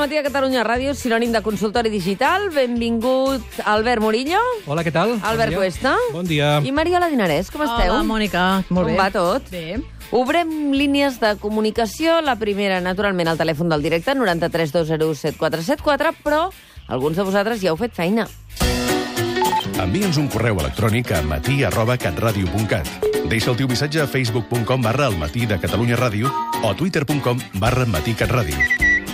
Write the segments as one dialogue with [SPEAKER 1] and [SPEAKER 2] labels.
[SPEAKER 1] matí a Catalunya Ràdio, sinònim de consultori digital. Benvingut Albert Murillo,
[SPEAKER 2] Hola, què tal?
[SPEAKER 1] Albert
[SPEAKER 2] bon dia.
[SPEAKER 1] Cuesta
[SPEAKER 2] Bon dia.
[SPEAKER 1] i Mariola Dinarès. Com esteu?
[SPEAKER 3] Hola, Mònica. Molt
[SPEAKER 1] Com
[SPEAKER 3] bé.
[SPEAKER 1] va tot?
[SPEAKER 3] Bé.
[SPEAKER 1] Obrem línies de comunicació. La primera, naturalment, al telèfon del directe, 932017474, però alguns de vosaltres ja heu fet feina.
[SPEAKER 4] Envia'ns un correu electrònic a matí arroba catradio.cat. Deixa el teu missatge a facebook.com barra el matí de Catalunya Ràdio o twitter.com barra matí catradio.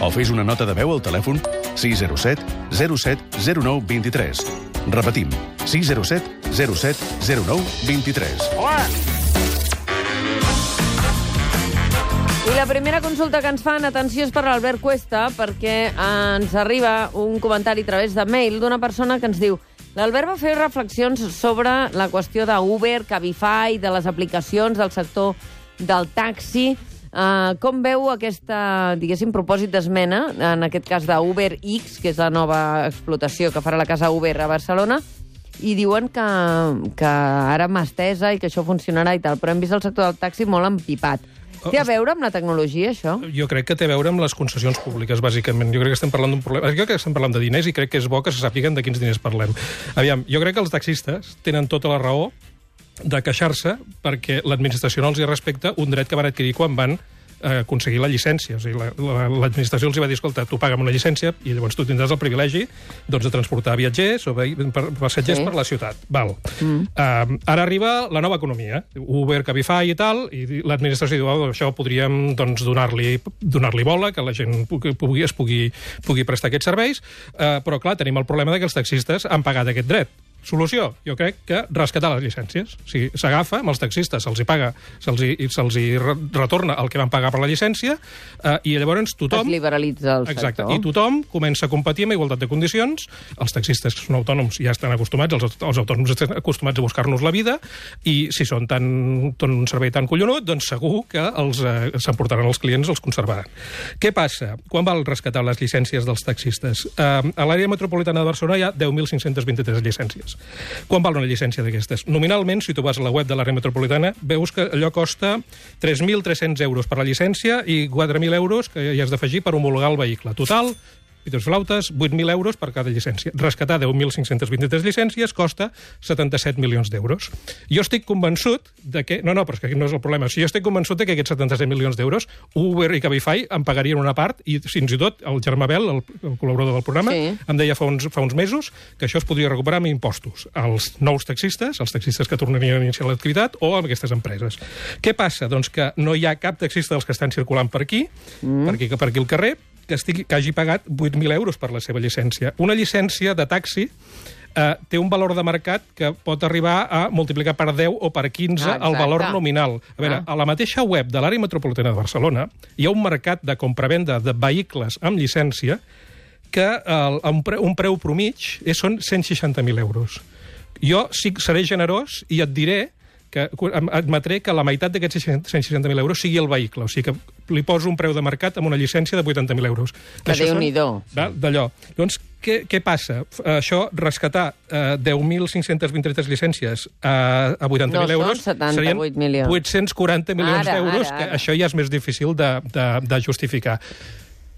[SPEAKER 4] O fes una nota de veu al telèfon 607 07 09 23. Repetim, 607 07 09 23.
[SPEAKER 1] I la primera consulta que ens fan, atenció, és per l'Albert Cuesta, perquè ens arriba un comentari a través de mail d'una persona que ens diu l'Albert va fer reflexions sobre la qüestió d'Uber, Cabify, de les aplicacions del sector del taxi. Uh, com veu aquesta, diguéssim, propòsit d'esmena, en aquest cas d'Uber X, que és la nova explotació que farà la casa Uber a Barcelona, i diuen que, que ara mà estesa i que això funcionarà i tal, però hem vist el sector del taxi molt empipat. Té a veure amb la tecnologia, això?
[SPEAKER 2] Jo crec que té a veure amb les concessions públiques, bàsicament. Jo crec que estem parlant d'un problema... Jo crec que estem parlant de diners i crec que és bo que se sàpiguen de quins diners parlem. Aviam, jo crec que els taxistes tenen tota la raó de queixar-se perquè l'administració no els hi respecta un dret que van adquirir quan van eh, aconseguir la llicència. O sigui, la- la- l'administració els hi va dir, escolta, tu paga'm una llicència i llavors tu tindràs el privilegi doncs, de transportar viatgers o vehi- per- passatgers
[SPEAKER 1] Sí.
[SPEAKER 2] sí. per la ciutat. Val. Mm. Uh, ara arriba la nova economia, Uber, Cabify i tal, i l'administració diu, oh, això podríem doncs, donar-li donar bola, que la gent pugui, pugui, es pugui, pugui prestar aquests serveis, uh, però clar, tenim el problema de que els taxistes han pagat aquest dret. Solució, jo crec que rescatar les llicències. O sigui, s'agafa amb els taxistes, se'ls hi paga, se'ls hi, se'ls hi re- retorna el que van pagar per la llicència, eh, i llavors
[SPEAKER 1] Es
[SPEAKER 2] tothom...
[SPEAKER 1] liberalitza el
[SPEAKER 2] Exacte.
[SPEAKER 1] sector.
[SPEAKER 2] I tothom comença a competir amb igualtat de condicions. Els taxistes que són autònoms ja estan acostumats, els, aut- els autònoms estan acostumats a buscar-nos la vida i si són tan, tan un servei tan collonut, doncs segur que els eh, s'emportaran els clients, els conservaran. Què passa? Quan val rescatar les llicències dels taxistes? Eh, a l'àrea metropolitana de Barcelona hi ha 10.523 llicències. Quan val una llicència d'aquestes? Nominalment, si tu vas a la web de l'àrea metropolitana, veus que allò costa 3.300 euros per la llicència i 4.000 euros que hi has d'afegir per homologar el vehicle. Total, pitos flautes, 8.000 euros per cada llicència. Rescatar 10.523 llicències costa 77 milions d'euros. Jo estic convençut de que... No, no, però és que no és el problema. Si jo estic convençut de que aquests 77 milions d'euros Uber i Cabify en pagarien una part i fins i tot el Germà Bel, el, el col·laborador del programa,
[SPEAKER 1] Sí.
[SPEAKER 2] sí em deia fa uns, fa uns mesos que això es podria recuperar amb impostos als nous taxistes, als taxistes que tornarien a iniciar l'activitat o amb aquestes empreses. Què passa? Doncs que no hi ha cap taxista dels que estan circulant per aquí, mm. per aquí, per aquí al carrer, que, estigui, que hagi pagat 8.000 euros per la seva llicència. Una llicència de taxi eh, té un valor de mercat que pot arribar a multiplicar per 10 o per 15
[SPEAKER 1] Ah,
[SPEAKER 2] ah, el valor
[SPEAKER 1] exacte.
[SPEAKER 2] nominal. A veure,
[SPEAKER 1] Ah.
[SPEAKER 2] a la mateixa web de l'àrea metropolitana de Barcelona hi ha un mercat de compravenda de vehicles amb llicència que el, un, preu, un preu promig és, són 160.000 euros. Jo sí, que seré generós i et diré que cu- em- admetré que la meitat d'aquests 60 160.000 euros sigui el vehicle, o sigui que li poso un preu de mercat amb una llicència de 80.000 euros.
[SPEAKER 1] Que
[SPEAKER 2] Això són-
[SPEAKER 1] Déu-n'hi-do.
[SPEAKER 2] de- d'allò. Llavors, què, què passa? F- eh, Això, rescatar eh, 10.523 llicències eh, a 80.000
[SPEAKER 1] No, són
[SPEAKER 2] euros...
[SPEAKER 1] 78
[SPEAKER 2] serien
[SPEAKER 1] milions.
[SPEAKER 2] 840 milions
[SPEAKER 1] Ara, ara,
[SPEAKER 2] d'euros,
[SPEAKER 1] ara.
[SPEAKER 2] que això ja és més difícil de, de, de justificar.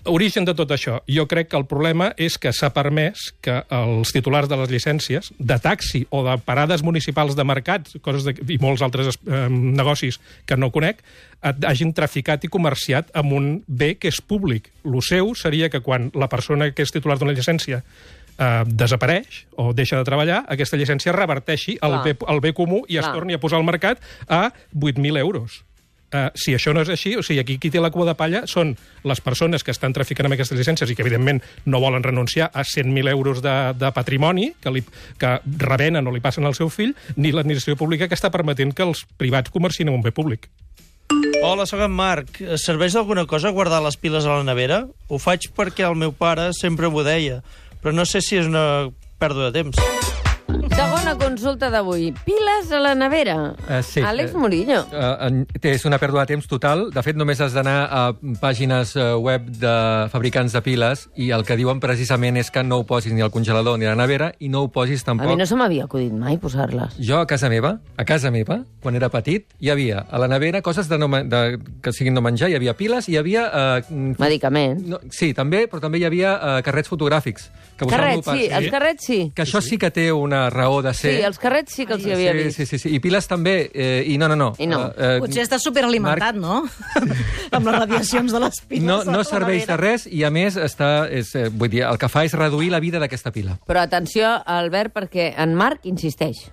[SPEAKER 2] Origen de tot això. Jo crec que el problema és que s'ha permès que els titulars de les llicències de taxi o de parades municipals de mercats coses de, i molts altres eh, negocis que no conec, et- hagin traficat i comerciat amb un bé que és públic. Lo seu seria que quan la persona que és titular d'una llicència eh, desapareix o deixa de treballar, aquesta llicència reverteixi el
[SPEAKER 1] Clar.
[SPEAKER 2] bé, el bé comú i es
[SPEAKER 1] Clar.
[SPEAKER 2] torni a posar al mercat a 8.000 euros. Uh, si això no és així, o sigui, aquí qui té la cua de palla són les persones que estan traficant amb aquestes llicències i que, evidentment, no volen renunciar a 100.000 euros de, de patrimoni que, li, que revenen o li passen al seu fill, ni l'administració pública que està permetent que els privats comercin amb un bé públic.
[SPEAKER 5] Hola, sóc en Marc. Serveix d'alguna cosa guardar les piles a la nevera? Ho faig perquè el meu pare sempre m'ho deia, però no sé si és una pèrdua de temps.
[SPEAKER 1] Segona consulta d'avui. Piles a la nevera.
[SPEAKER 3] Eh, sí.
[SPEAKER 1] Àlex
[SPEAKER 3] Eh,
[SPEAKER 1] Murillo.
[SPEAKER 3] Eh, en- té- és una pèrdua de temps total. De fet, només has d'anar a pàgines eh, web de fabricants de piles i el que diuen precisament és que no ho posis ni al congelador ni a la nevera i no ho posis
[SPEAKER 1] A
[SPEAKER 3] tampoc...
[SPEAKER 1] mi no se m'havia acudit mai posar-les.
[SPEAKER 3] Jo a casa meva, a casa meva, quan era petit, hi havia a la nevera coses de no, men- de, que siguin no menjar, hi havia piles, hi havia... Eh,
[SPEAKER 1] Medicaments.
[SPEAKER 3] no, sí, també, però també hi havia eh, carrets fotogràfics. Que posaven
[SPEAKER 1] Carrets,
[SPEAKER 3] lupes.
[SPEAKER 1] sí. Els carrets, sí.
[SPEAKER 3] Que això sí que té una raó de
[SPEAKER 1] Sí,
[SPEAKER 3] ser.
[SPEAKER 1] els carrets sí que els hi havia
[SPEAKER 3] sí,
[SPEAKER 1] vist.
[SPEAKER 3] sí, sí, sí. I piles també. Eh, I no, no, no.
[SPEAKER 1] I no.
[SPEAKER 3] Eh, eh,
[SPEAKER 6] Potser està superalimentat, no? Amb les radiacions de les piles.
[SPEAKER 3] no,
[SPEAKER 6] a
[SPEAKER 3] no
[SPEAKER 6] la
[SPEAKER 3] serveix de
[SPEAKER 6] nevera.
[SPEAKER 3] res i, a més, està, és, eh, vull dir, el que fa és reduir la vida d'aquesta pila.
[SPEAKER 1] Però atenció, Albert, perquè en Marc insisteix.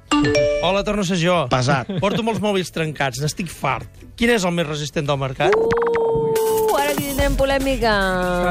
[SPEAKER 5] Hola, torno a ser jo.
[SPEAKER 7] Pesat.
[SPEAKER 5] Porto molts mòbils trencats, n'estic fart. Quin és el més resistent del mercat?
[SPEAKER 1] Uh, ara aquí tindrem polèmica.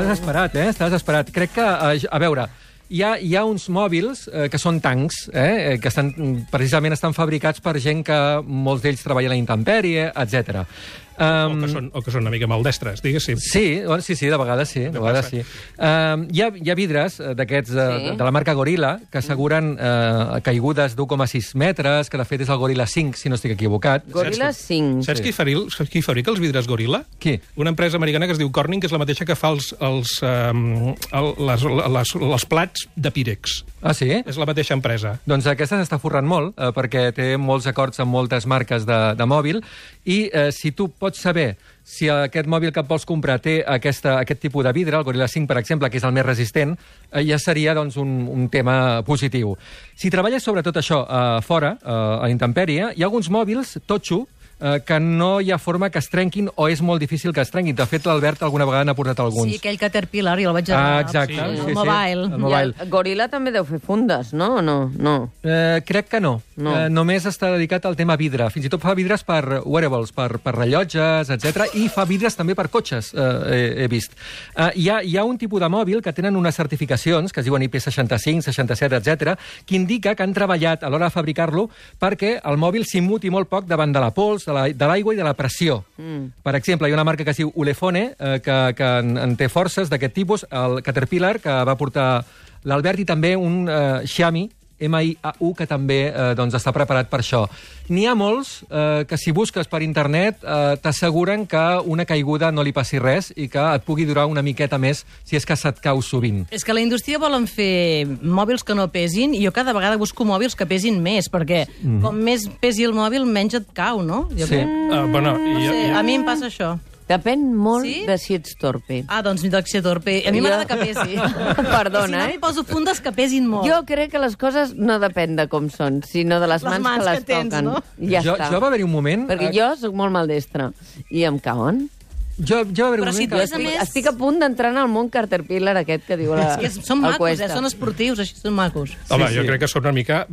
[SPEAKER 3] Estàs esperat, eh? Estàs esperat. Crec que, eh, a veure, hi ha, hi ha uns mòbils eh, que són tancs, eh, eh, que estan, mm, precisament estan fabricats per gent que molts d'ells treballa a la intempèrie, etc.
[SPEAKER 2] O que, són, o que són una mica maldestres, diguéssim.
[SPEAKER 3] Mm. Sí, bueno, sí, sí, de vegades sí, de vegades sí. Uh, hi, ha, hi ha vidres eh, d'aquests de,
[SPEAKER 1] Sí.
[SPEAKER 3] sí. de la marca Gorilla
[SPEAKER 6] Mm.
[SPEAKER 3] que asseguren uh, caigudes d'1,6 metres, que de fet és el Gorilla 5, si no estic equivocat.
[SPEAKER 1] Gorila 5.
[SPEAKER 2] Saps qui, faril, saps qui fabrica els vidres Gorilla?
[SPEAKER 3] Qui?
[SPEAKER 2] Una empresa americana que es diu Corning, que és la mateixa que fa els, els, um, el, les, les, les plats de Pirex.
[SPEAKER 3] Ah, sí?
[SPEAKER 2] És la mateixa empresa.
[SPEAKER 3] Doncs aquesta s'està forrant molt, eh, perquè té molts acords amb moltes marques de, de mòbil, i eh, si tu pots saber si aquest mòbil que et vols comprar té aquesta, aquest tipus de vidre, el Gorilla 5, per exemple, que és el més resistent, eh, ja seria doncs, un, un tema positiu. Si treballes sobretot això eh, fora, eh, a la intempèrie, hi ha alguns mòbils, totxo, eh, que no hi ha forma que es trenquin o és molt difícil que es trenquin. De fet, l'Albert alguna vegada n'ha portat alguns.
[SPEAKER 6] Sí, aquell Caterpillar, jo el vaig
[SPEAKER 3] Ah,
[SPEAKER 6] agafar.
[SPEAKER 3] exacte.
[SPEAKER 6] El
[SPEAKER 3] Sí, sí.
[SPEAKER 6] mobile.
[SPEAKER 3] El mobile.
[SPEAKER 1] I el gorila també deu fer fundes, no? O no? No.
[SPEAKER 3] Eh, crec que no.
[SPEAKER 1] No.
[SPEAKER 3] Eh, només està dedicat al tema vidre. Fins i tot fa vidres per wearables, per, per rellotges, etc. I fa vidres també per cotxes, eh, he, he vist. Eh, hi, ha, hi ha un tipus de mòbil que tenen unes certificacions, que es diuen IP65, 67, etc, que indica que han treballat a l'hora de fabricar-lo perquè el mòbil s'immuti molt poc davant de la pols, de la- de l'aigua la, i de la pressió. Mm. Per exemple, hi ha una marca que es diu Ulefone, eh, que, que en, en té forces d'aquest tipus, el Caterpillar, que va portar l'Albert, i també un eh, Xiaomi, MIAU, que també eh, doncs, està preparat per això. N'hi ha molts eh, que si busques per internet eh, t'asseguren que una caiguda no li passi res i que et pugui durar una miqueta més si és que se't cau sovint.
[SPEAKER 6] És que la indústria volen fer mòbils que no pesin i jo cada vegada busco mòbils que pesin més, perquè com més pesi el mòbil, menys et cau, no? Jo
[SPEAKER 3] Mhm. Sí.
[SPEAKER 1] Mm,
[SPEAKER 6] crec.
[SPEAKER 2] Uh, bueno,
[SPEAKER 6] No
[SPEAKER 2] i,
[SPEAKER 6] sé,
[SPEAKER 2] i,
[SPEAKER 6] a mi em passa això.
[SPEAKER 1] Depèn molt sí?
[SPEAKER 6] Sí?
[SPEAKER 1] de si ets torpe.
[SPEAKER 6] Ah, doncs mi d'acció torpe. A mi
[SPEAKER 1] Jo-
[SPEAKER 6] m'agrada que pesi.
[SPEAKER 1] Perdona,
[SPEAKER 6] si no,
[SPEAKER 1] eh?
[SPEAKER 6] m'hi poso fundes que pesin molt.
[SPEAKER 1] Jo crec que les coses no depèn de com són, sinó de les
[SPEAKER 6] Les
[SPEAKER 1] mans,
[SPEAKER 6] mans
[SPEAKER 1] que
[SPEAKER 6] que
[SPEAKER 1] les
[SPEAKER 6] tens,
[SPEAKER 1] toquen.
[SPEAKER 6] no?
[SPEAKER 1] Ja
[SPEAKER 3] jo,
[SPEAKER 1] està.
[SPEAKER 3] jo va haver-hi un moment... eh,
[SPEAKER 1] Perquè jo sóc molt maldestra i em cauen.
[SPEAKER 3] Jo, jo va haver-hi
[SPEAKER 6] Però
[SPEAKER 3] un
[SPEAKER 6] si
[SPEAKER 3] moment
[SPEAKER 6] tu
[SPEAKER 3] que...
[SPEAKER 1] Jo
[SPEAKER 6] A
[SPEAKER 1] estic,
[SPEAKER 6] més-
[SPEAKER 1] estic a punt d'entrar en el món Caterpillar aquest que diu la,
[SPEAKER 6] És que són
[SPEAKER 1] el
[SPEAKER 6] macos,
[SPEAKER 1] Cuesta.
[SPEAKER 6] eh? són esportius, així són macos.
[SPEAKER 2] home,
[SPEAKER 3] sí,
[SPEAKER 2] jo
[SPEAKER 3] sí.
[SPEAKER 2] crec que són una mica...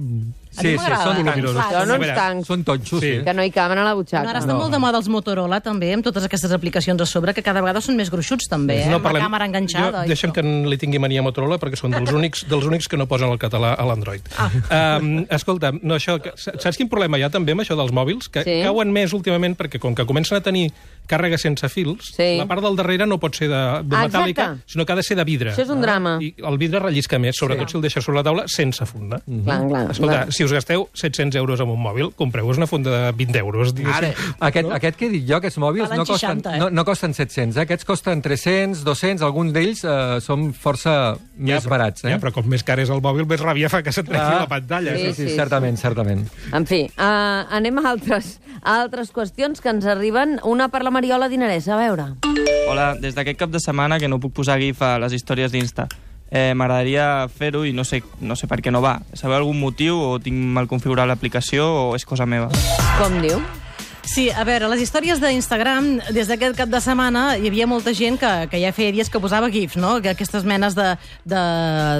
[SPEAKER 1] A mi m'agrada. Clar,
[SPEAKER 3] són
[SPEAKER 1] Són
[SPEAKER 3] voluminosos.
[SPEAKER 2] A
[SPEAKER 1] uns
[SPEAKER 2] veure,
[SPEAKER 1] tancs
[SPEAKER 3] Són eh? tonxos, sí.
[SPEAKER 2] Sí.
[SPEAKER 1] que no hi caben a la butxaca.
[SPEAKER 6] No, ara està molt de moda els Motorola, també, amb totes aquestes aplicacions a sobre, que cada vegada són més gruixuts, també, eh? Amb la càmera enganxada.
[SPEAKER 2] Jo,
[SPEAKER 6] i
[SPEAKER 2] deixa'm
[SPEAKER 6] això.
[SPEAKER 2] que en- li tingui mania a Motorola, perquè són dels únics, dels únics que no posen el català a l'Android. Ah. Um, escolta, no, això, que- saps quin problema hi ha també amb això dels mòbils? Que
[SPEAKER 1] Sí.
[SPEAKER 2] cauen més últimament perquè com que comencen a tenir càrrega sense fils,
[SPEAKER 1] Sí.
[SPEAKER 2] la part del darrere no pot ser de, de
[SPEAKER 1] Ah,
[SPEAKER 2] metàl·lica,
[SPEAKER 1] exacte.
[SPEAKER 2] sinó que ha de ser de vidre. Ah.
[SPEAKER 1] Això és un drama.
[SPEAKER 2] I el vidre rellisca més, sobretot sí. si el deixes sobre la taula sense funda. Mm.
[SPEAKER 1] Clar, clar.
[SPEAKER 2] Escolta,
[SPEAKER 1] clar.
[SPEAKER 2] si us gasteu 700 euros en un mòbil, compreu-vos una funda de 20 euros. diguéssim.
[SPEAKER 3] Ara, aquest, no? aquest que he dit jo, aquests mòbils,
[SPEAKER 6] Valen
[SPEAKER 3] no costen,
[SPEAKER 6] 60, eh?
[SPEAKER 3] no, no costen 700. eh? Aquests costen 300, 200, alguns d'ells eh, són força més barats. Eh?
[SPEAKER 2] Ja, però com més car és el mòbil, més ràbia fa que se't treci
[SPEAKER 3] Ah.
[SPEAKER 2] la pantalla.
[SPEAKER 1] Sí,
[SPEAKER 3] sí,
[SPEAKER 1] sí,
[SPEAKER 3] sí, certament, certament.
[SPEAKER 1] En fi, uh, anem a altres, a altres qüestions que ens arriben. Una per la Mariola Dinarès, a veure.
[SPEAKER 8] Hola, des d'aquest cap de setmana que no puc posar gif a les històries d'Insta. Eh, M'agradaria fer-ho i no sé, no sé per què no va. Sabeu algun motiu o tinc mal configurat l'aplicació o és cosa meva?
[SPEAKER 1] Com diu?
[SPEAKER 6] Sí, a veure, les històries d'Instagram, des d'aquest cap de setmana, hi havia molta gent que, que ja feia dies que posava gifs, no? Que aquestes menes de, de,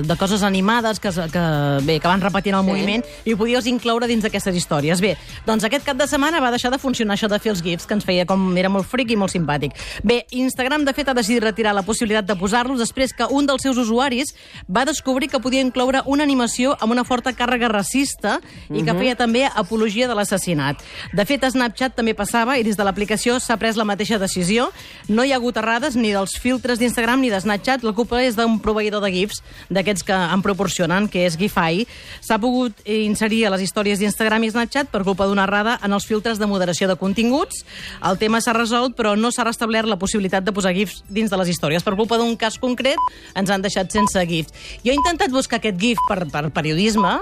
[SPEAKER 6] de coses animades que, es- que, bé, que van repetint el
[SPEAKER 1] Sí.
[SPEAKER 6] sí. moviment i ho podies incloure dins d'aquestes històries. Bé, doncs aquest cap de setmana va deixar de funcionar això de fer els gifs, que ens feia com... era molt fric i molt simpàtic. Bé, Instagram, de fet, ha decidit retirar la possibilitat de posar-los després que un dels seus usuaris va descobrir que podia incloure una animació amb una forta càrrega racista i que feia també apologia de l'assassinat. De fet, Snapchat també passava i des de l'aplicació s'ha pres la mateixa decisió. No hi ha hagut errades ni dels filtres d'Instagram ni de Snapchat. La culpa és d'un proveïdor de GIFs, d'aquests que en proporcionen, que és Gifai. S'ha pogut inserir a les històries d'Instagram i Snapchat per culpa d'una errada en els filtres de moderació de continguts. El tema s'ha resolt, però no s'ha restablert la possibilitat de posar GIFs dins de les històries. Per culpa d'un cas concret, ens han deixat sense GIFs. Jo he intentat buscar aquest GIF per, per periodisme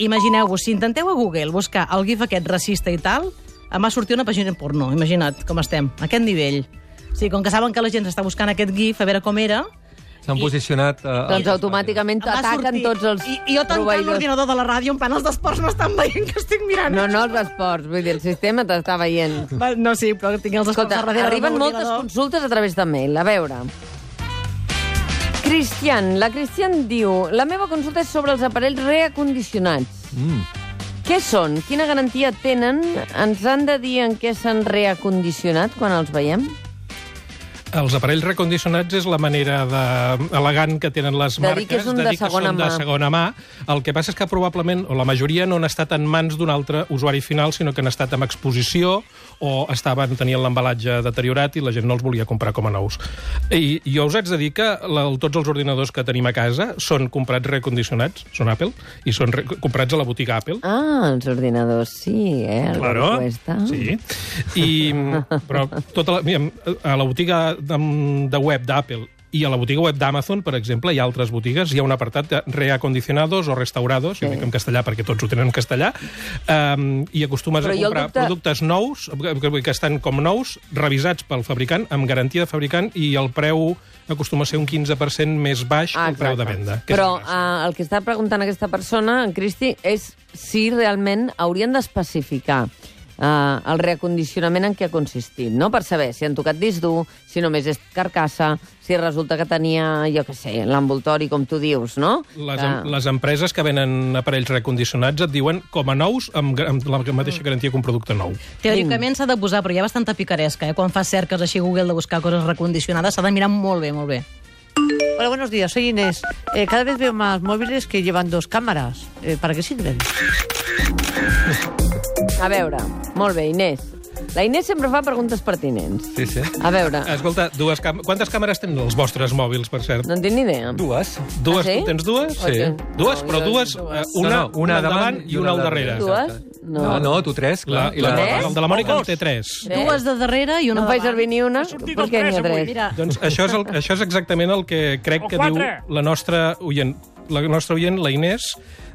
[SPEAKER 6] Imagineu-vos, si intenteu a Google buscar el gif aquest racista i tal, em va sortir una pàgina porno, imagina't com estem, a aquest nivell. O sigui, com que saben que la gent està buscant aquest gif, a veure com era...
[SPEAKER 3] S'han posicionat... Eh,
[SPEAKER 1] Doncs
[SPEAKER 3] a-
[SPEAKER 1] automàticament
[SPEAKER 6] em va
[SPEAKER 1] ataquen
[SPEAKER 6] sortir.
[SPEAKER 1] tots els
[SPEAKER 6] I, i jo tancant
[SPEAKER 1] proveïdors.
[SPEAKER 6] l'ordinador de la ràdio, en plan, els d'esports m'estan veient que estic mirant.
[SPEAKER 1] No, no els esports, vull dir, el sistema t'està veient.
[SPEAKER 6] Va, no sí, però tinc els esports
[SPEAKER 1] Escolta,
[SPEAKER 6] a darrere.
[SPEAKER 1] arriben
[SPEAKER 6] de
[SPEAKER 1] moltes
[SPEAKER 6] l'ordinador.
[SPEAKER 1] consultes a través de mail. A veure... Cristian, la Cristian diu... La meva consulta és sobre els aparells reacondicionats.
[SPEAKER 3] Mm.
[SPEAKER 1] Què són? Quina garantia tenen? Ens han de dir en què s'han reacondicionat quan els veiem?
[SPEAKER 2] Els aparells recondicionats és la manera de, elegant que tenen les
[SPEAKER 1] De dir
[SPEAKER 2] marques
[SPEAKER 1] que és un de
[SPEAKER 2] de dir que
[SPEAKER 1] segona
[SPEAKER 2] són
[SPEAKER 1] mà.
[SPEAKER 2] de segona mà. El que passa és que probablement, o la majoria, no han estat en mans d'un altre usuari final, sinó que han estat en exposició o estaven tenien l'embalatge deteriorat i la gent no els volia comprar com a nous. I jo us haig de dir que la, tots els ordinadors que tenim a casa són comprats recondicionats, són Apple, i són re, comprats a la botiga Apple.
[SPEAKER 1] Ah, els ordinadors, sí, eh? El
[SPEAKER 2] Claro.
[SPEAKER 1] Cuesta.
[SPEAKER 2] Sí. I, però tota la, mira, a la botiga de, de web d'Apple i a la botiga web d'Amazon, per exemple, hi ha altres botigues, hi ha un apartat de reacondicionados o restaurados, sí. jo dic en castellà perquè tots ho tenen en castellà, um, i acostumes
[SPEAKER 1] Però jo
[SPEAKER 2] a
[SPEAKER 1] el
[SPEAKER 2] comprar
[SPEAKER 1] dubte-
[SPEAKER 2] productes nous, que, que estan com nous, revisats pel fabricant, amb garantia de fabricant, i el preu acostuma a ser un 15% més baix que el preu de
[SPEAKER 1] Ah, exacte.
[SPEAKER 2] venda. que és
[SPEAKER 1] Però
[SPEAKER 2] una gràcia.
[SPEAKER 1] uh, el que està preguntant aquesta persona, en Cristi, és si realment haurien d'especificar uh, el reacondicionament en què ha consistit, no? Per saber si han tocat disc dur, si només és carcassa, si resulta que tenia, jo què sé, l'envoltori, com tu dius, no? Ah,
[SPEAKER 2] Les,
[SPEAKER 1] Que-
[SPEAKER 2] em, les empreses que venen aparells recondicionats et diuen com a nous amb, gra- amb la
[SPEAKER 1] Mm.
[SPEAKER 2] mateixa garantia que un producte nou.
[SPEAKER 6] Teòricament s'ha de posar, però hi ha bastanta picaresca, eh? Quan fas cerques així a Google de buscar coses recondicionades, s'ha de mirar molt bé, molt bé.
[SPEAKER 7] Hola, buenos días, soy Inés. Eh, cada vez veo más móviles que llevan dos cámaras. Eh, ¿Para qué sirven?
[SPEAKER 1] A veure, molt bé, Inés. La Inés sempre fa preguntes pertinents.
[SPEAKER 3] Sí, sí.
[SPEAKER 1] A veure,
[SPEAKER 2] Escolta, dues cam quantes càmeres tenen els vostres mòbils, per cert?
[SPEAKER 1] no en tinc ni idea.
[SPEAKER 3] Dues.
[SPEAKER 2] Dues,
[SPEAKER 1] Ah, sí?
[SPEAKER 2] tens dues?
[SPEAKER 1] Sí.
[SPEAKER 2] Dues,
[SPEAKER 1] No,
[SPEAKER 2] però
[SPEAKER 1] jo-
[SPEAKER 2] dues,
[SPEAKER 1] dues.
[SPEAKER 2] eh, una,
[SPEAKER 3] No, no, una
[SPEAKER 2] al
[SPEAKER 3] davant
[SPEAKER 2] davant i una al darrere.
[SPEAKER 1] Dues?
[SPEAKER 3] No, no, Ah, no tu tres,
[SPEAKER 2] La,
[SPEAKER 3] clar.
[SPEAKER 2] la,
[SPEAKER 1] Tres?
[SPEAKER 2] el de la Mònica en té tres.
[SPEAKER 1] Tres?
[SPEAKER 6] Dues de darrere i
[SPEAKER 1] No
[SPEAKER 6] una
[SPEAKER 1] en faig
[SPEAKER 6] davant.
[SPEAKER 1] servir ni una? Per què n'hi ha tres?
[SPEAKER 6] Mira,
[SPEAKER 2] Doncs això és, el, això és exactament el que crec que diu la nostra oient. La nostra oient, la Inés,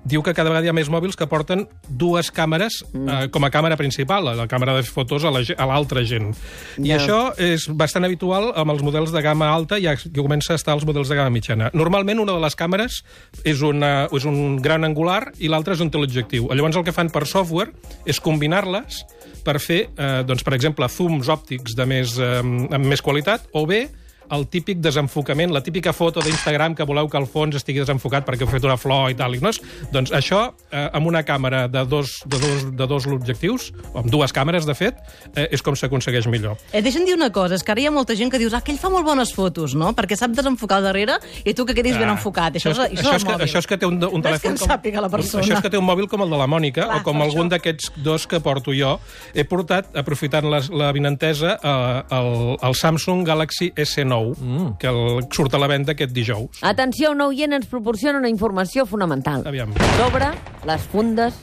[SPEAKER 2] diu que cada vegada hi ha més mòbils que porten dues càmeres eh, com a càmera principal, la càmera de fotos a la ge- a l'altra la, gent. I
[SPEAKER 1] Ja.
[SPEAKER 2] això és bastant habitual amb els models de gamma alta, ja, ja comença a estar als models de gamma mitjana. Normalment una de les càmeres és, una, és un gran angular i l'altra és un teleobjectiu. Llavors el que fan per software és combinar-les per fer, eh, doncs, per exemple, zooms òptics de més, eh, amb més qualitat o bé el típic desenfocament, la típica foto d'Instagram que voleu que el fons estigui desenfocat perquè heu fet una flor i tal. I no és, doncs això, eh, amb una càmera de dos, de dos, de dos objectius, o amb dues càmeres, de fet, eh, és com s'aconsegueix millor.
[SPEAKER 6] Eh, deixa'm dir una cosa, és que ara hi ha molta gent que dius ah, que ell fa molt bones fotos, no? Perquè sap desenfocar al darrere i tu que quedis ben enfocat. Això, és, això,
[SPEAKER 2] això, és que,
[SPEAKER 6] mòbil.
[SPEAKER 2] això és que té un, un
[SPEAKER 6] No és
[SPEAKER 2] telèfon...
[SPEAKER 6] que en sàpiga la persona.
[SPEAKER 2] Això és que té un mòbil com el de la Mònica,
[SPEAKER 6] Clar,
[SPEAKER 2] o com
[SPEAKER 6] per
[SPEAKER 2] algun
[SPEAKER 6] això.
[SPEAKER 2] d'aquests dos que porto jo. He portat, aprofitant les- la vinentesa, eh, el, el Samsung Galaxy S9, mm. que el, surt a la venda aquest dijous.
[SPEAKER 1] Atenció, un oient ens proporciona una informació fonamental
[SPEAKER 2] Aviam.
[SPEAKER 1] sobre les fundes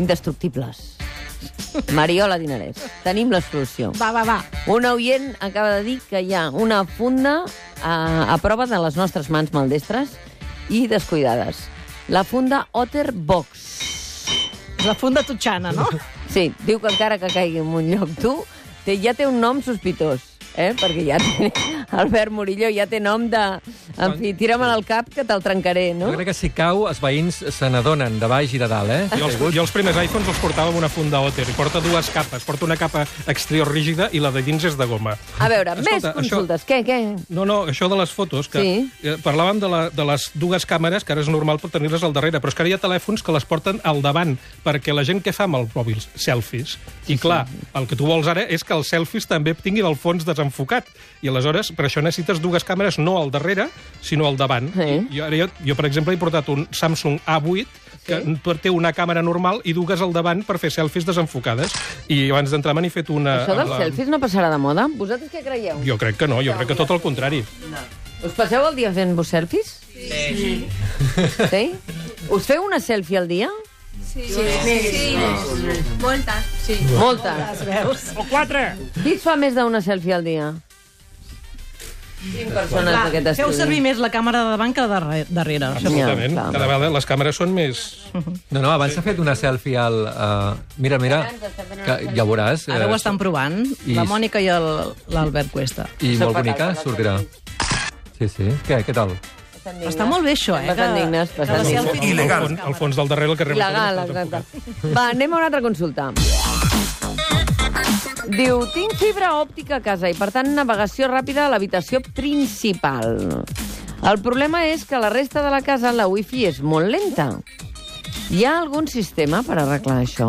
[SPEAKER 1] indestructibles. Mariola Dinarès, tenim la solució.
[SPEAKER 6] Va, va, va.
[SPEAKER 1] Un oient acaba de dir que hi ha una funda eh, a, a prova de les nostres mans maldestres i descuidades. La funda Otterbox.
[SPEAKER 6] La funda totxana, no?
[SPEAKER 1] Sí, diu que encara que caigui en un lloc tu, té, ja té un nom sospitós, eh? Perquè ja té... Albert Murillo ja té nom de... En fi, tira-me'l al cap que te'l trencaré, no?
[SPEAKER 3] Jo crec que si cau, els veïns se n'adonen de baix i de dalt, eh?
[SPEAKER 2] Jo els, jo els primers iPhones els portava amb una funda Otter i porta dues capes. Porta una capa exterior rígida i la de dins és de goma.
[SPEAKER 1] A veure,
[SPEAKER 2] Escolta,
[SPEAKER 1] més
[SPEAKER 2] això-
[SPEAKER 1] consultes. Què, què?
[SPEAKER 2] No, no, això de les fotos, que
[SPEAKER 1] Sí.
[SPEAKER 2] eh, parlàvem de, la, de les dues càmeres, que ara és normal per tenir-les al darrere, però és que ara hi ha telèfons que les porten al davant, perquè la gent que fa amb els mòbils? Selfies. I clar, el que tu vols ara és que els selfies també tinguin el fons desenfocat. I aleshores, per això necessites dues càmeres, no al darrere, sinó al davant.
[SPEAKER 1] Sí.
[SPEAKER 2] I Jo, ara jo, jo, per exemple, he portat un Samsung A8, que té una càmera normal i dugues al davant per fer selfies desenfocades. I abans d'entrar me n'he fet una...
[SPEAKER 1] Això dels
[SPEAKER 2] amb
[SPEAKER 1] selfies no passarà de moda? Vosaltres què creieu?
[SPEAKER 2] Jo crec que no, jo crec que tot el contrari.
[SPEAKER 1] Us passeu el dia fent-vos selfies? Sí. Sí? Us feu una selfie al dia?
[SPEAKER 9] Moltes. Sí.
[SPEAKER 1] Moltes.
[SPEAKER 5] O quatre!
[SPEAKER 1] Qui es fa més d'una selfie al dia? Cinc persones d'aquest
[SPEAKER 6] Feu
[SPEAKER 1] estudi.
[SPEAKER 6] servir més la càmera de davant que la de darrere. Això sí.
[SPEAKER 2] Absolutament.
[SPEAKER 1] clar.
[SPEAKER 2] Cada vegada les càmeres són més...
[SPEAKER 3] No, no, abans s'ha fet una selfie al... Uh, mira, mira, que ja veuràs.
[SPEAKER 6] Ara ho
[SPEAKER 3] eh,
[SPEAKER 6] estan provant,
[SPEAKER 3] I-
[SPEAKER 6] la Mònica i el- l'Albert Cuesta.
[SPEAKER 3] I
[SPEAKER 1] Soc
[SPEAKER 3] molt
[SPEAKER 1] fatal,
[SPEAKER 3] bonica,
[SPEAKER 1] soc
[SPEAKER 3] sortirà. Sí, sí. Què, què tal?
[SPEAKER 6] Està molt bé, això, eh?
[SPEAKER 1] Bastant
[SPEAKER 6] que-
[SPEAKER 1] dignes,
[SPEAKER 6] que la
[SPEAKER 1] bastant
[SPEAKER 6] selfie
[SPEAKER 1] dignes.
[SPEAKER 6] tingui
[SPEAKER 2] Al,
[SPEAKER 6] les
[SPEAKER 2] fons,
[SPEAKER 6] càmeres.
[SPEAKER 2] al fons del darrere el carrer...
[SPEAKER 1] Legal, exacte. Va, anem a una altra consulta. Diu, tinc fibra òptica a casa i, per tant, navegació ràpida a l'habitació principal. El problema és que a la resta de la casa la wifi és molt lenta. Hi ha algun sistema per arreglar això?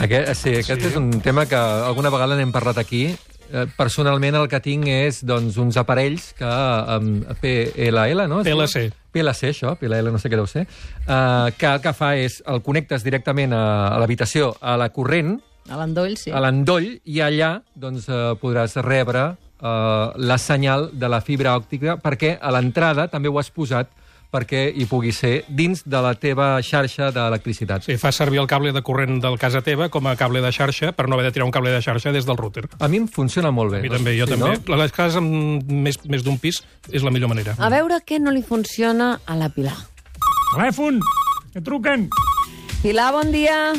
[SPEAKER 3] Aquest, sí, aquest sí. és un tema que alguna vegada n'hem parlat aquí. Eh, Personalment el que tinc és doncs, uns aparells que um, PLL, no?
[SPEAKER 2] PLC.
[SPEAKER 3] PLC, això, PLL no sé què deu ser, uh, que el que fa és el connectes directament a, a l'habitació, a la corrent,
[SPEAKER 6] A l'endoll, sí.
[SPEAKER 3] a l'endoll, i allà doncs, eh, podràs rebre eh, la senyal de la fibra òptica, perquè a l'entrada també ho has posat perquè hi pugui ser dins de la teva xarxa d'electricitat.
[SPEAKER 2] Sí, fa servir el cable de corrent del casa teva com a cable de xarxa per no haver de tirar un cable de xarxa des del router.
[SPEAKER 3] A mi em funciona molt
[SPEAKER 2] A
[SPEAKER 3] bé.
[SPEAKER 2] mi també, jo
[SPEAKER 3] sí,
[SPEAKER 2] també.
[SPEAKER 3] No?
[SPEAKER 2] No? Les cases amb més, més d'un pis és la millor manera.
[SPEAKER 1] A veure què no li funciona a la Pilar.
[SPEAKER 5] Telèfon! Que truquen!
[SPEAKER 1] Pilar, bon dia.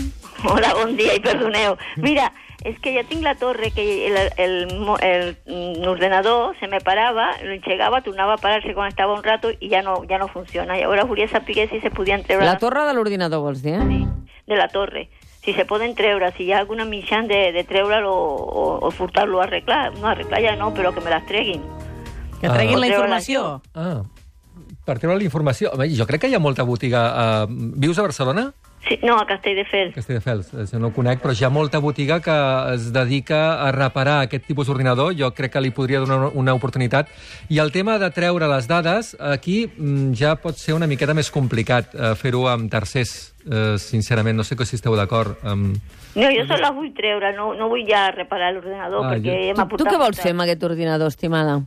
[SPEAKER 9] Hola, bon dia i perdoneu. Mira, és que ja tinc la torre que el, el, mo- el, mm, ordenador se me parava, l'engegava, tornava a parar-se quan estava un rato i ja no, ja no funciona. I ara volia saber si se podien treure...
[SPEAKER 1] La torre de l'ordinador, vols dir, eh?
[SPEAKER 9] Sí, de la torre. Si se poden treure, si hi ha alguna mitjan de, de treure'l o, o, o furtar-lo a arreglar. No, arreglar ja no, però que me les treguin.
[SPEAKER 6] Que treguin
[SPEAKER 9] Ah.
[SPEAKER 6] la informació.
[SPEAKER 3] Ah, per treure la informació... Home, jo crec que hi ha molta botiga... Eh, vius a Barcelona?
[SPEAKER 9] Sí, no, a Castelldefels.
[SPEAKER 3] Castelldefels, eh, jo no ho conec, però hi ha molta botiga que es dedica a reparar aquest tipus d'ordinador. Jo crec que li podria donar una oportunitat. I el tema de treure les dades, aquí mm, ja pot ser una miqueta més complicat eh, fer-ho amb tercers, eh, sincerament. No sé que si esteu d'acord. Amb...
[SPEAKER 9] No, jo se les vull treure, no, no vull ja reparar l'ordenador
[SPEAKER 3] Ah,
[SPEAKER 9] perquè
[SPEAKER 3] jo-
[SPEAKER 9] ja
[SPEAKER 1] Tu,
[SPEAKER 9] m'ha
[SPEAKER 1] tu
[SPEAKER 9] portat...
[SPEAKER 1] què vols
[SPEAKER 9] molta-
[SPEAKER 1] fer amb aquest ordinador, estimada?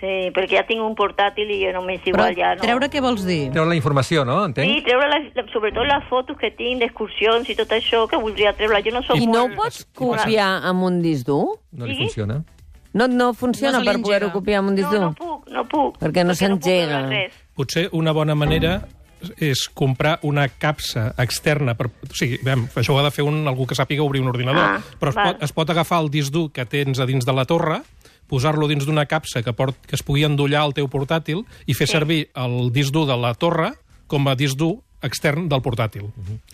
[SPEAKER 9] Sí, perquè ja tinc un portàtil i jo només
[SPEAKER 6] Però
[SPEAKER 9] igual ja no...
[SPEAKER 6] treure què vols dir?
[SPEAKER 3] Treure la informació, no?
[SPEAKER 9] Sí,
[SPEAKER 3] Entenc?
[SPEAKER 9] treure les, sobretot les fotos que tinc d'excursions i tot això que voldria treure. Jo no sóc
[SPEAKER 1] I no ho
[SPEAKER 9] molt-
[SPEAKER 1] pots copiar amb un disc dur?
[SPEAKER 3] No li
[SPEAKER 9] Sí.
[SPEAKER 3] funciona.
[SPEAKER 1] No, no funciona
[SPEAKER 6] No se li
[SPEAKER 1] per poder-ho
[SPEAKER 6] engega.
[SPEAKER 1] copiar amb un disc
[SPEAKER 9] No,
[SPEAKER 1] dur?
[SPEAKER 9] no puc, no puc.
[SPEAKER 1] Perquè no
[SPEAKER 9] puc veure
[SPEAKER 1] s'engega.
[SPEAKER 9] res.
[SPEAKER 2] Potser una bona manera és comprar una capsa externa. Per, o sigui, vam, això ho ha de fer un, algú que sàpiga obrir un ordinador.
[SPEAKER 9] Ah,
[SPEAKER 2] però es
[SPEAKER 9] val.
[SPEAKER 2] pot, es pot agafar el disc dur que tens a dins de la torre, posar-lo dins d'una capsa que, port, que es pugui endollar al teu portàtil i fer sí. servir el disc dur de la torre com a disc dur extern del portàtil.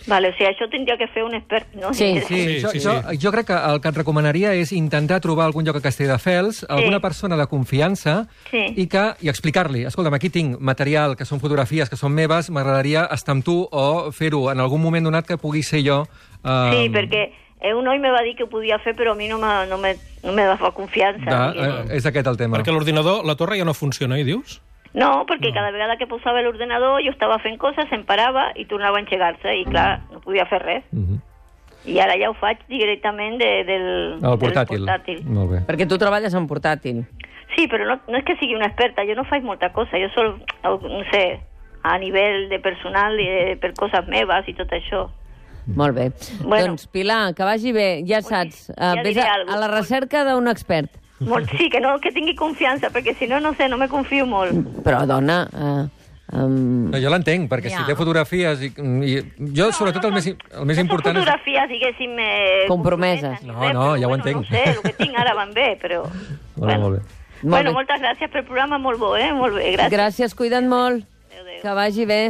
[SPEAKER 9] Vale, o sigui, això tindria que fer un expert, no?
[SPEAKER 1] Sí.
[SPEAKER 2] Sí,
[SPEAKER 3] jo,
[SPEAKER 2] sí,
[SPEAKER 3] jo, jo crec que el que et recomanaria és intentar trobar algun lloc a Castelldefels, alguna persona de confiança,
[SPEAKER 9] Sí.
[SPEAKER 3] i, que, i explicar-li, escolta'm, aquí tinc material, que són fotografies, que són meves, m'agradaria estar amb tu o fer-ho en algun moment donat que pugui ser jo... Eh,
[SPEAKER 9] Sí, perquè eh, un noi me va dir que ho podia fer, però a mi no me, no me, no me va fer confiança.
[SPEAKER 3] De,
[SPEAKER 9] diguem.
[SPEAKER 3] eh, és aquest el tema.
[SPEAKER 2] Perquè l'ordinador, la torre ja no funciona, i dius?
[SPEAKER 9] No, perquè cada vegada que posava l'ordenador jo estava fent coses, em parava i tornava a engegar-se i, clar, no podia fer res.
[SPEAKER 3] Mhm.
[SPEAKER 9] I ara ja ho faig directament de, del,
[SPEAKER 3] Ah, El portàtil.
[SPEAKER 9] del portàtil.
[SPEAKER 3] Molt bé.
[SPEAKER 1] Perquè tu treballes en portàtil.
[SPEAKER 9] Sí, però no, no és que sigui una experta, jo no faig molta cosa, jo sol, no sé, a nivell de personal i de, per coses meves i tot tota això.
[SPEAKER 3] Mm.
[SPEAKER 1] Molt bé.
[SPEAKER 9] Bueno.
[SPEAKER 1] Doncs, Pilar, que vagi bé. Ja saps, eh,
[SPEAKER 9] ja
[SPEAKER 1] vés
[SPEAKER 9] diré
[SPEAKER 1] a,
[SPEAKER 9] alguna
[SPEAKER 1] a la
[SPEAKER 9] cosa.
[SPEAKER 1] recerca d'un expert.
[SPEAKER 9] Molt, sí, que no que tingui confiança, perquè si no, no sé, no me confio molt.
[SPEAKER 1] Però, dona... Eh, um,
[SPEAKER 3] No, jo l'entenc, perquè si
[SPEAKER 6] Ja.
[SPEAKER 3] té fotografies... I, i jo, sobretot, el més, el més
[SPEAKER 9] no
[SPEAKER 3] important és...
[SPEAKER 9] són fotografies, diguéssim... Eh,
[SPEAKER 1] Compromeses.
[SPEAKER 9] ni
[SPEAKER 3] No,
[SPEAKER 9] res,
[SPEAKER 3] no,
[SPEAKER 9] però,
[SPEAKER 3] ja ho
[SPEAKER 9] bueno,
[SPEAKER 3] entenc.
[SPEAKER 9] No sé, el que tinc ara van bé, però...
[SPEAKER 3] Molt bé, molt bé.
[SPEAKER 1] Molt
[SPEAKER 9] Bueno,
[SPEAKER 1] bé.
[SPEAKER 9] moltes gràcies pel programa, molt bo, eh? Molt bé, gràcies.
[SPEAKER 1] gràcies, cuida't molt.
[SPEAKER 9] Adéu, adéu.
[SPEAKER 1] Que vagi bé.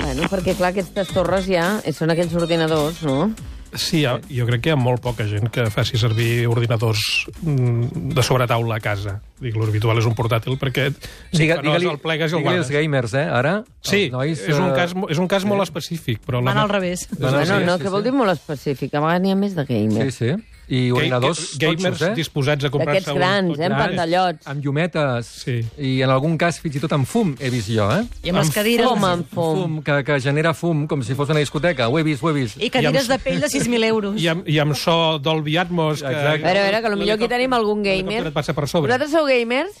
[SPEAKER 1] Bueno, perquè, clar, aquestes torres ja són aquells ordinadors, no?
[SPEAKER 2] Sí, hi ha, jo crec que hi ha molt poca gent que faci servir ordinadors mm, de sobretaula a casa. Dic, l'habitual és un portàtil, perquè si
[SPEAKER 3] Digue-
[SPEAKER 2] Digue, no el plegues i el
[SPEAKER 3] digue-li
[SPEAKER 2] guardes.
[SPEAKER 3] als gamers, eh, ara.
[SPEAKER 2] Sí,
[SPEAKER 3] Els nois,
[SPEAKER 2] és, un
[SPEAKER 3] eh,
[SPEAKER 2] cas, mo- és un cas molt específic. Però la
[SPEAKER 6] Van
[SPEAKER 2] ma-
[SPEAKER 6] al revés.
[SPEAKER 3] No, no,
[SPEAKER 1] bueno,
[SPEAKER 3] sí,
[SPEAKER 1] no,
[SPEAKER 3] sí,
[SPEAKER 1] que
[SPEAKER 3] sí.
[SPEAKER 1] vol dir molt específic. A vegades n'hi ha més de gamer.
[SPEAKER 3] Sí, sí. i ordinadors
[SPEAKER 2] gamers
[SPEAKER 3] totxos, eh?
[SPEAKER 2] disposats a comprar-se...
[SPEAKER 1] D'aquests
[SPEAKER 2] un
[SPEAKER 1] grans,
[SPEAKER 2] tot
[SPEAKER 1] eh, amb
[SPEAKER 2] gran.
[SPEAKER 1] pantallots.
[SPEAKER 3] Amb llumetes
[SPEAKER 2] Sí.
[SPEAKER 3] i en algun cas fins i tot amb fum, he vist jo, eh?
[SPEAKER 6] I amb les cadires...
[SPEAKER 1] Fum,
[SPEAKER 6] de-
[SPEAKER 1] amb fum.
[SPEAKER 3] Fum, que, que genera fum, com si fos una discoteca. Ho he vist, ho he vist.
[SPEAKER 6] I cadires de pell de 6.000 euros.
[SPEAKER 2] I amb, I amb so Dolby Atmos...
[SPEAKER 3] Exacte.
[SPEAKER 1] A veure, a veure, que potser aquí tenim algun gamer.
[SPEAKER 2] L'helicòpter et passa per sobre.
[SPEAKER 1] Vosaltres sou gamers?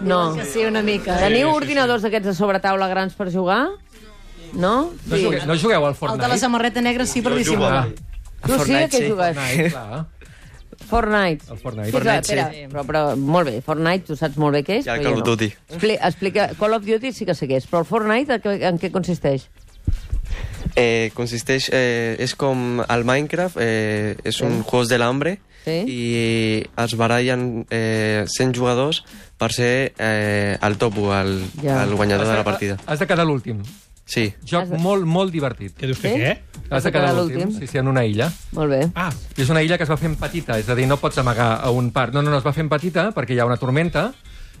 [SPEAKER 1] No.
[SPEAKER 6] Que sí, una mica.
[SPEAKER 1] Teniu ordinadors d'aquests de sobretaula grans per jugar? No?
[SPEAKER 3] No, jugueu, no jugueu al
[SPEAKER 6] El de la
[SPEAKER 3] Fortnite? Ah,
[SPEAKER 6] samarreta negra sí, per dissimular.
[SPEAKER 1] Tu sí
[SPEAKER 5] Fortnite,
[SPEAKER 1] que
[SPEAKER 5] sí.
[SPEAKER 1] jugues.
[SPEAKER 3] Fortnite, clar.
[SPEAKER 1] Fortnite.
[SPEAKER 3] El Fortnite.
[SPEAKER 1] Ah. Sí, clar, espera, però, però molt bé, Fortnite tu saps molt bé què és.
[SPEAKER 8] I el
[SPEAKER 1] però
[SPEAKER 8] Call
[SPEAKER 1] jo
[SPEAKER 8] of
[SPEAKER 1] no.
[SPEAKER 8] Duty.
[SPEAKER 1] Expli explica, Call of Duty sí que sé què és, però el Fortnite en què- en què consisteix?
[SPEAKER 10] Eh, consisteix, eh, és com el Minecraft, eh, és un juego de l'hambre
[SPEAKER 1] Sí.
[SPEAKER 10] i es barallen eh, 100 jugadors per ser eh, el topo, el,
[SPEAKER 1] Ja.
[SPEAKER 10] ja. el guanyador de la partida.
[SPEAKER 3] Has de quedar l'últim.
[SPEAKER 10] Sí.
[SPEAKER 3] Joc
[SPEAKER 1] Has de-
[SPEAKER 3] molt, molt divertit.
[SPEAKER 2] Què dius que
[SPEAKER 1] Sí?
[SPEAKER 2] què?
[SPEAKER 3] Has de quedar l'últim. Sí, sí, en una illa.
[SPEAKER 1] Molt bé.
[SPEAKER 2] Ah,
[SPEAKER 3] I és una illa que es va fent petita, és a dir, no pots amagar a un parc. No, no, no, es va fent petita perquè hi ha una tormenta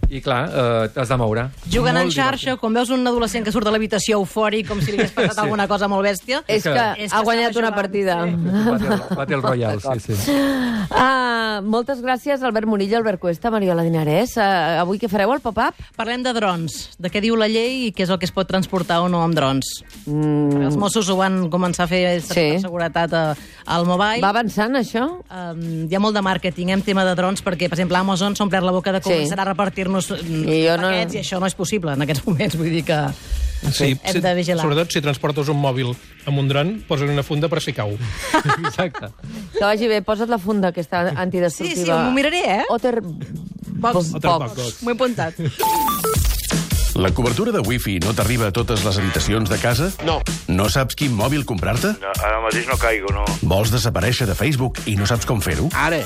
[SPEAKER 3] i, clar, eh, t'has de moure.
[SPEAKER 6] Jugant en
[SPEAKER 3] Molt
[SPEAKER 6] xarxa, quan veus un adolescent que surt de l'habitació eufòric com si li hagués passat alguna cosa molt bèstia...
[SPEAKER 1] És que,
[SPEAKER 6] És que
[SPEAKER 1] ha guanyat
[SPEAKER 6] estava
[SPEAKER 1] una
[SPEAKER 6] jugant,
[SPEAKER 1] partida.
[SPEAKER 3] Battle, Battle Royale, sí, sí.
[SPEAKER 1] Ah, moltes gràcies, Albert Murillo, Albert Cuesta, Mariola Dinarès. Ah, avui què fareu, el pop-up?
[SPEAKER 6] Parlem de drons, de què diu la llei i què és el que es pot transportar o no amb drons. Mm. Els Mossos ho van començar a fer
[SPEAKER 1] Sí.
[SPEAKER 6] sí. seguretat a, al mobile.
[SPEAKER 1] Va avançant, això?
[SPEAKER 6] Um, hi ha molt de màrqueting eh, en tema de drons perquè, per exemple, Amazon s'ha omplert la boca de
[SPEAKER 1] Sí.
[SPEAKER 6] començar a repartir-nos mm,
[SPEAKER 1] I jo no-
[SPEAKER 6] paquets i això no és possible en aquests moments. Vull dir que...
[SPEAKER 2] sí,
[SPEAKER 6] Hem
[SPEAKER 2] sí,
[SPEAKER 6] de vigilar.
[SPEAKER 2] sobretot si transportes un mòbil amb un dron, posa-li una funda per si cau.
[SPEAKER 3] Exacte.
[SPEAKER 1] Que vagi bé, posa't la funda aquesta
[SPEAKER 6] Sí,
[SPEAKER 1] antidestructiva.
[SPEAKER 6] sí, m'ho miraré, eh?
[SPEAKER 1] Otter...
[SPEAKER 6] Box.
[SPEAKER 2] Otterbox.
[SPEAKER 6] M'ho he apuntat.
[SPEAKER 4] La cobertura de wifi no t'arriba a totes les habitacions de casa? No. No saps quin mòbil comprar-te?
[SPEAKER 11] Ara mateix no caigo, no.
[SPEAKER 4] Vols desaparèixer de Facebook i no saps com fer-ho? Ara!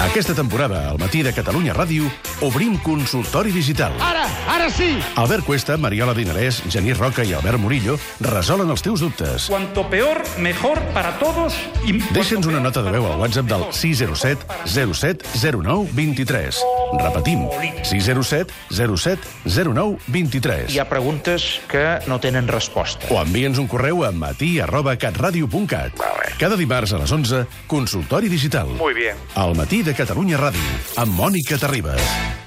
[SPEAKER 4] Aquesta temporada, al matí de Catalunya Ràdio, obrim consultori digital. Ara! Ara sí! Albert Cuesta, Mariola Dinarès, Genís Roca i Albert Murillo resolen els teus dubtes.
[SPEAKER 11] Cuanto peor, mejor para todos. Y...
[SPEAKER 4] Deixa'ns una nota de veu al WhatsApp del 607 07 09 23. Repetim, 607 07 09 23.
[SPEAKER 11] Hi ha preguntes que no tenen resposta.
[SPEAKER 4] O envia'ns un correu a matí arroba catradio.cat. Cada dimarts a les 11, consultori digital.
[SPEAKER 11] Muy bien.
[SPEAKER 4] Al matí de Catalunya Ràdio, amb Mònica Terribas.